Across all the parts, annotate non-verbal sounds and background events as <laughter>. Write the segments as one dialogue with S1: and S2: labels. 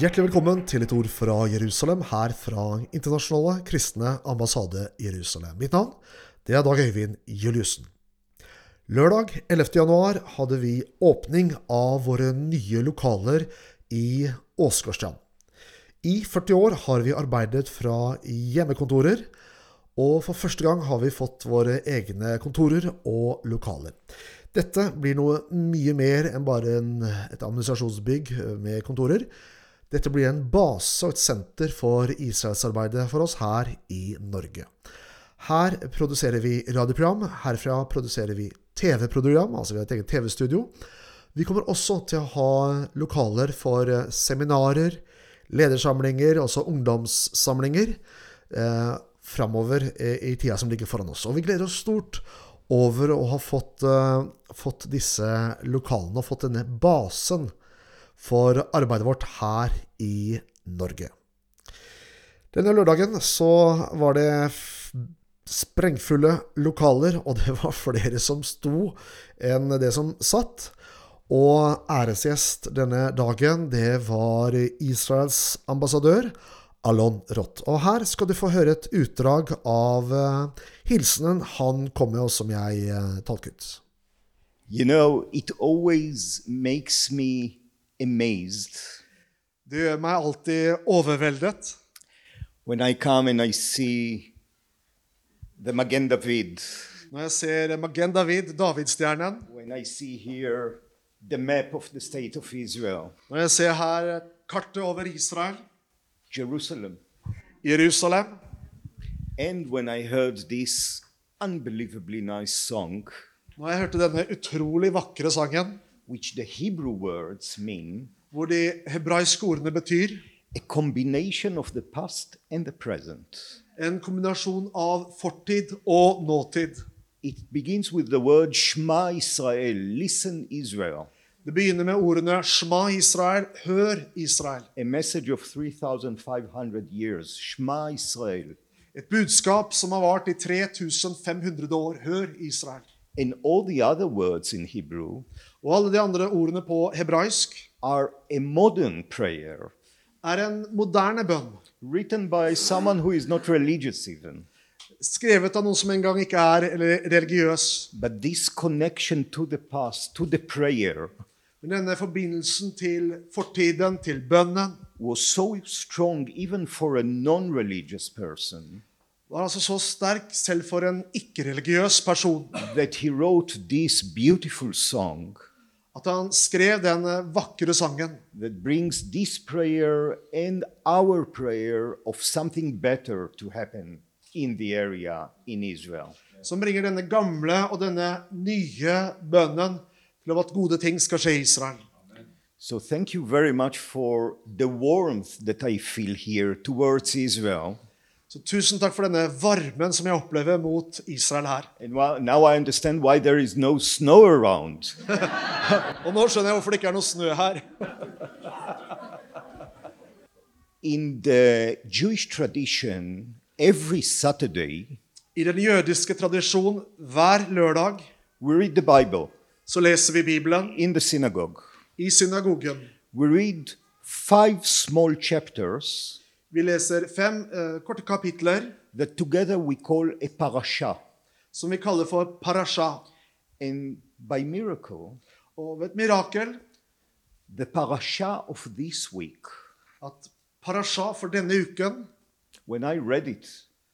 S1: Hjertelig velkommen til et ord fra Jerusalem, her fra Internasjonale kristne ambassade Jerusalem. Mitt navn det er Dag Øyvind Juliussen. Lørdag 11. januar hadde vi åpning av våre nye lokaler i Åsgårdstrand. I 40 år har vi arbeidet fra hjemmekontorer, og for første gang har vi fått våre egne kontorer og lokaler. Dette blir noe mye mer enn bare en, et administrasjonsbygg eh, med kontorer. Dette blir en base og et senter for Israelsarbeidet for oss her i Norge. Her produserer vi radioprogram, herfra produserer vi TV-program, altså vi har et eget TV-studio. Vi kommer også til å ha lokaler for eh, seminarer, ledersamlinger, også ungdomssamlinger, eh, framover eh, i tida som ligger foran oss. Og vi gleder oss stort over å ha fått, eh, fått disse lokalene og fått denne basen for arbeidet vårt her i Norge. Denne lørdagen så var det f- sprengfulle lokaler, og det var flere som sto enn det som satt. Og æresgjest denne dagen, det var Israels ambassadør Alon Roth. Og her skal du få høre et utdrag av eh, hilsenen han kom med, og som jeg eh, tolket.
S2: You know, it always makes me amazed
S1: Du gjør meg alltid overveldet
S2: when I come and I see the Magen David,
S1: når jeg ser Magen David, Davidstjernen.
S2: when I see here the map of the state of Israel,
S1: Når jeg ser her kartet over Israel,
S2: Jerusalem,
S1: Jerusalem,
S2: and when I heard this unbelievably nice song,
S1: når jeg hørte denne utrolig vakre sangen,
S2: which the Hebrew words mean
S1: hvor de hebraiske ordene betyr
S2: a combination of the past and the present.
S1: en kombinasjon av fortid og nåtid.
S2: It begins with the word Shema Israel, listen Israel.
S1: Det begynner med ordene Shma Israel, hør Israel.
S2: a message of 3,500 years. Shema Israel.
S1: Et budskap som har vart i 3500 år. Hør Israel.
S2: And all the other words in Hebrew
S1: Og alle de andre ordene på hebraisk
S2: are a modern prayer
S1: er en moderne bønn,
S2: written by someone who is not religious even.
S1: skrevet av noen som en gang ikke er eller religiøs.
S2: But this connection to the past, to the prayer,
S1: Men denne forbindelsen til fortiden, til bønnen,
S2: was so strong even for a non religious person
S1: var altså så sterk selv for en ikke-religiøs person
S2: that he wrote this beautiful song
S1: at han skrev den vakre sangen
S2: that brings this prayer and our prayer of something better to happen in the area in Israel.
S1: som bringer denne gamle og denne nye bønnen til at gode ting skal skje i Israel.
S2: So thank you very much for the warmth that I feel here towards Israel.
S1: Så tusen takk for denne varmen som jeg opplever mot Israel her.
S2: And wa- now I understand why there is no snow around.
S1: Og nå skjønner jeg hvorfor det ikke er noe snø her.
S2: In the Jewish tradition, every Saturday
S1: I den jødiske tradisjon, hver lørdag,
S2: we read the Bible
S1: så leser vi Bibelen
S2: in the synagogue.
S1: i synagogen.
S2: We read five small chapters
S1: Vi leser fem eh, korte kapitler
S2: that together we call a parasha.
S1: som vi kaller for parasha.
S2: And by miracle,
S1: Og ved et mirakel
S2: the parasha of this week,
S1: at parasha for denne uken
S2: when I read it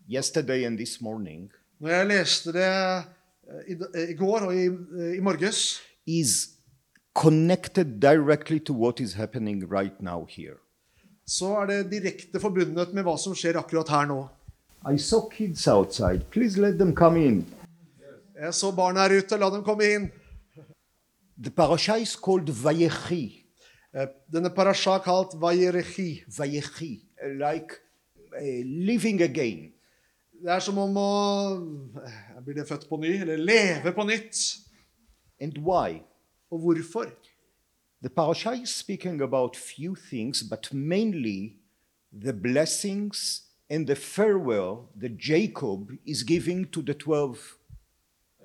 S2: yesterday and this morning,
S1: Når jeg leste det eh, i, d- eh, i går og i, eh, i morges,
S2: is connected directly to what is happening right now here.
S1: så er det direkte forbundet med hva som skjer akkurat her nå.
S2: I saw kids outside. Please let them come in.
S1: Jeg så barna her ute, la dem komme inn.
S2: The parasha is called Vayechi.
S1: Eh, Denne parasha kalt Vayerechi.
S2: Vayechi, like uh, living again.
S1: Det er som om å eh, Blir det født på ny? Eller leve på nytt?
S2: And why?
S1: Og hvorfor?
S2: The parasha is speaking about few things, but mainly the blessings and the farewell that Jacob is giving to the 12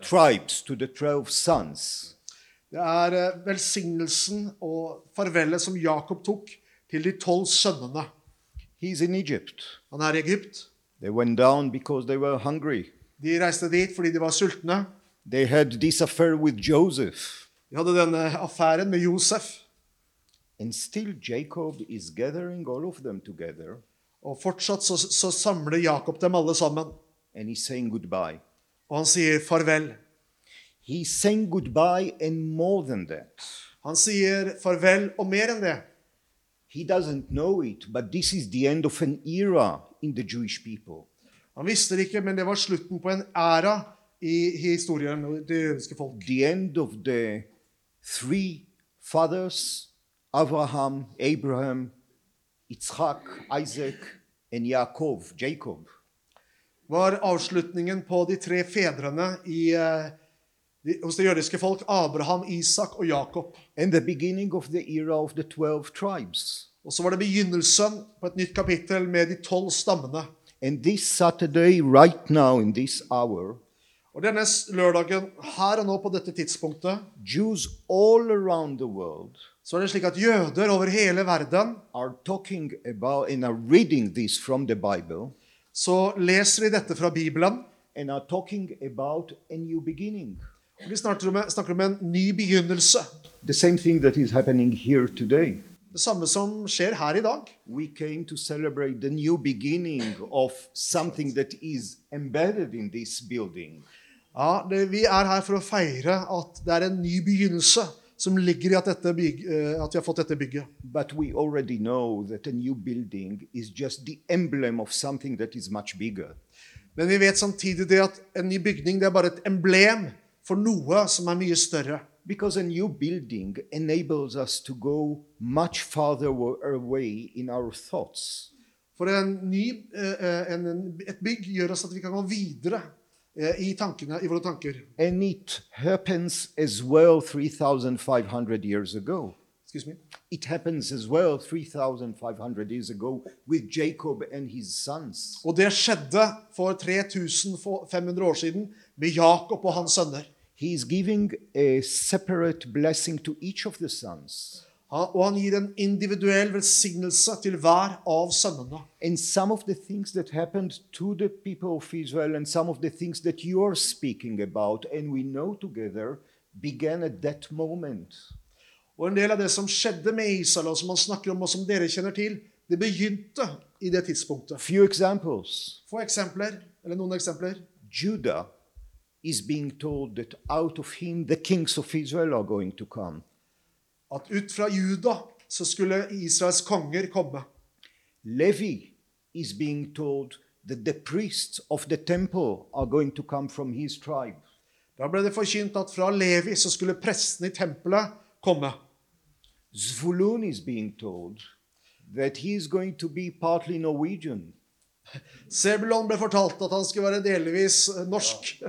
S2: tribes, to the 12 sons.
S1: Det er eh, velsignelsen og farvelet som Jakob tok til de tolv sønnene.
S2: He's in Egypt.
S1: Han er i Egypt.
S2: They went down because they were hungry.
S1: De reiste dit fordi de var sultne.
S2: They had this affair with Joseph.
S1: De hadde denne affæren med Josef.
S2: And still, Jacob is gathering all of them together
S1: Og fortsatt så, så samler Jakob dem alle sammen.
S2: and he's saying goodbye.
S1: Og han sier farvel.
S2: He's saying goodbye and more than that.
S1: Han sier farvel og mer enn det.
S2: He doesn't know it, but this is the end of an era in the Jewish people.
S1: Han visste det ikke, men det var slutten på en æra i historien til det jødiske folk.
S2: The end of the three fathers Abraham, Abraham, Yitzhak, Isaac, and Yaakov, Jacob.
S1: var avslutningen på de tre fedrene i, eh, de, hos det jødiske folk, Abraham, Isak og Jakob.
S2: And the beginning of the era of the 12 tribes.
S1: Og så var det begynnelsen på et nytt kapittel med de tolv stammene.
S2: And this Saturday, right now, in this hour,
S1: Og denne s- lørdagen, her og nå på dette tidspunktet,
S2: Jews all around the world
S1: så er det slik at jøder over hele verden,
S2: are talking about and are reading this from the Bible
S1: så leser de dette fra Bibelen.
S2: and are talking about a new beginning.
S1: Og De snakker om, snakker om en ny begynnelse.
S2: The same thing that is happening here today.
S1: Det samme som skjer her i dag.
S2: We came to celebrate the new beginning of something that is embedded in this building.
S1: Ja, det, Vi er her for å feire at det er en ny begynnelse som ligger i at, dette byg, eh, at vi har fått dette bygget.
S2: But we already know that a new building is just the emblem of something that is much bigger.
S1: Men vi vet samtidig det at en ny bygning det er bare et emblem for noe som er mye større.
S2: Because a new building enables us to go much farther wa- away in our thoughts.
S1: For en ny, eh, eh, en, en, et bygg gjør oss at vi kan gå videre eh, i, tankene, i våre tanker.
S2: And it happens as well 3,500 years ago.
S1: Excuse me.
S2: It happens as well 3,500 years ago with Jacob and his sons.
S1: Og det skjedde for 3500 år siden med Jakob og hans sønner.
S2: He is giving a separate blessing to each of the sons.
S1: Han, og han gir en individuell velsignelse til hver av sønnene.
S2: And some of the things that happened to the people of Israel and some of the things that you're speaking about and we know together began at that moment.
S1: Og en del av det som skjedde med Israel, og som han snakker om, og som dere kjenner til, det begynte i det tidspunktet.
S2: Few examples.
S1: Få eksempler, eller noen eksempler.
S2: Judah is being told that out of him the kings of Israel are going to come.
S1: at ut fra Juda så skulle Israels konger komme.
S2: Levi is being told that the priests of the temple are going to come from his tribe.
S1: Da ble det forkynt at fra Levi så skulle prestene i tempelet komme.
S2: Zvulun is being told that he is going to be partly Norwegian.
S1: Sebulon ble fortalt at han skulle være delvis eh, norsk.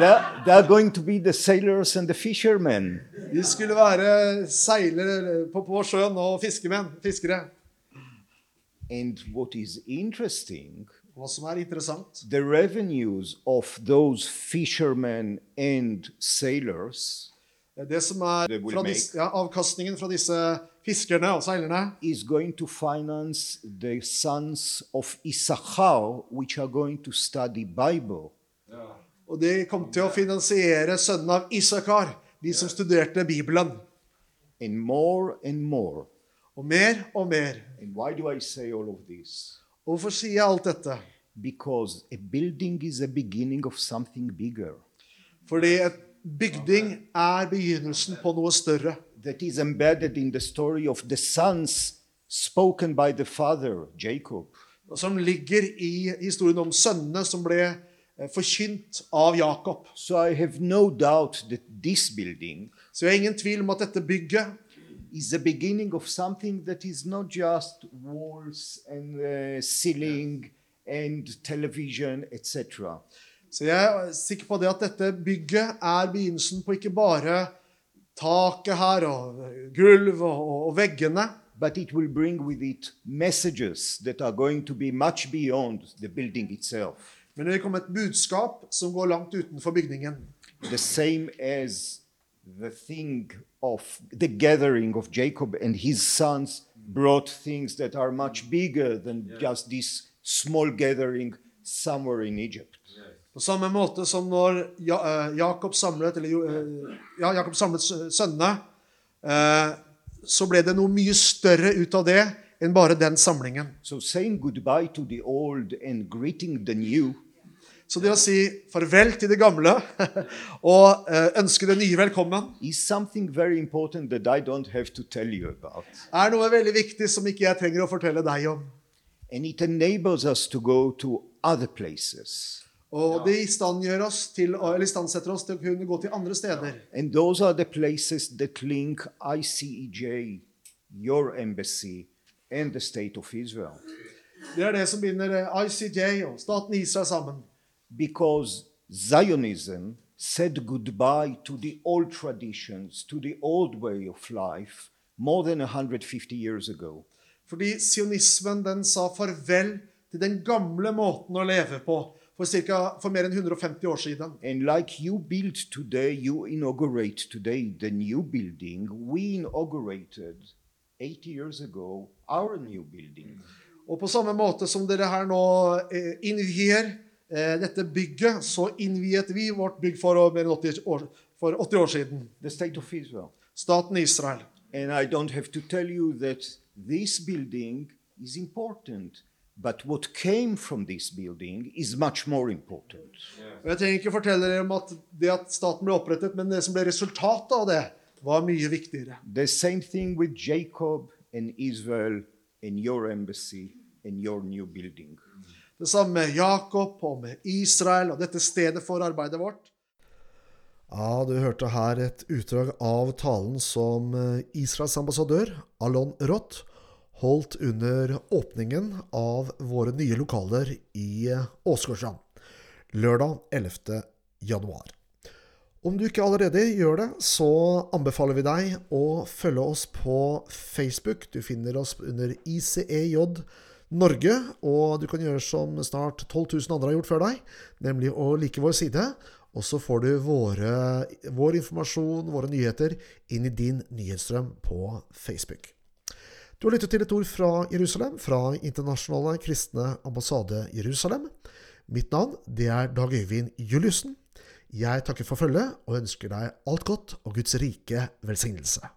S2: They're, they're going to be the sailors and the fishermen.
S1: De skulle være seilere på, på sjøen og fiskemenn, fiskere.
S2: And what is interesting,
S1: Hva som er interessant,
S2: the revenues of those fishermen and sailors
S1: det som er
S2: Det will
S1: fra dis, ja, avkastningen fra disse fiskerne og seilerne,
S2: is going to finance the sons of Issachar, which are going to study Bible.
S1: og de kom til å finansiere sønnen av Isakar, de som studerte Bibelen.
S2: and more and more.
S1: Og mer og mer.
S2: And why do I say all of this?
S1: Og hvorfor sier jeg alt dette?
S2: Because a building is a beginning of something bigger
S1: Fordi et bygding er begynnelsen på noe større.
S2: that is embedded in the story of the sons spoken by the father, Jacob.
S1: og Som ligger i historien om sønnene som ble eh, forkynt av Jakob.
S2: So I have no doubt that this building
S1: Så jeg har ingen tvil om at dette bygget
S2: is the beginning of something that is not just walls and uh, ceiling and television, etc.
S1: Så jeg er sikker på det at dette bygget er begynnelsen på ikke bare taket her og gulv og, og, og veggene,
S2: but it will bring with it messages that are going to be much beyond the building itself.
S1: men det vil komme et budskap som går langt utenfor bygningen.
S2: The same as the thing of the gathering of Jacob and his sons brought things that are much bigger than just this small gathering somewhere in Egypt.
S1: På samme måte som når ja, eh, Jakob samlet, eller, jo- eh, ja, Jakob samlet sø- sønnene, eh, så ble det noe mye større ut av det enn bare den samlingen.
S2: So saying goodbye to the old and greeting the new
S1: Så det å si farvel til det gamle <laughs> og eh, ønske det nye velkommen
S2: is something very important that I don't have to tell you about.
S1: er noe veldig viktig som ikke jeg trenger å fortelle deg om.
S2: And it enables us to go to other places.
S1: Og det istandgjør oss til, eller istandsetter oss til å kunne gå til andre steder.
S2: And those are the places that link ICEJ, your embassy, and the state of Israel.
S1: Det er det som binder eh, ICJ og staten Israel sammen.
S2: Because Zionism said goodbye to the old traditions, to the old way of life, more than 150 years ago.
S1: Fordi sionismen den sa farvel til den gamle måten å leve på for, cirka, for mer enn 150 år siden.
S2: And like you build today, you inaugurate today the new building. We inaugurated 80 years ago our new building.
S1: Og på samme måte som dere her nå eh, innvier eh, dette bygget, så innviet vi vårt bygg for eh, mer enn 80 år, for 80 år siden.
S2: the state of Israel.
S1: Staten Israel.
S2: And I don't have to tell you that this building is important, but what came from this building is much more important.
S1: Og jeg trenger ikke fortelle dere om at det at staten ble opprettet, men det som ble resultatet av det, var mye viktigere.
S2: The same thing with Jacob and Israel and your embassy and your new building.
S1: Det samme med Jakob og med Israel og dette stedet for arbeidet vårt. Ja, du hørte her et utdrag av talen som eh, Israels ambassadør, Alon Roth, holdt under åpningen av våre nye lokaler i eh, Åsgårdstrand lørdag 11. januar. Om du ikke allerede gjør det, så anbefaler vi deg å følge oss på Facebook. Du finner oss under ICEJ Norge, og du kan gjøre som snart 12 000 andre har gjort før deg, nemlig å like vår side. Og så får du våre, vår informasjon, våre nyheter, inn i din nyhetsstrøm på Facebook. Du har lyttet til et ord fra Jerusalem, fra Internasjonale kristne ambassade Jerusalem. Mitt navn det er Dag Øyvind Juliussen. Jeg takker for følget og ønsker deg alt godt og Guds rike velsignelse.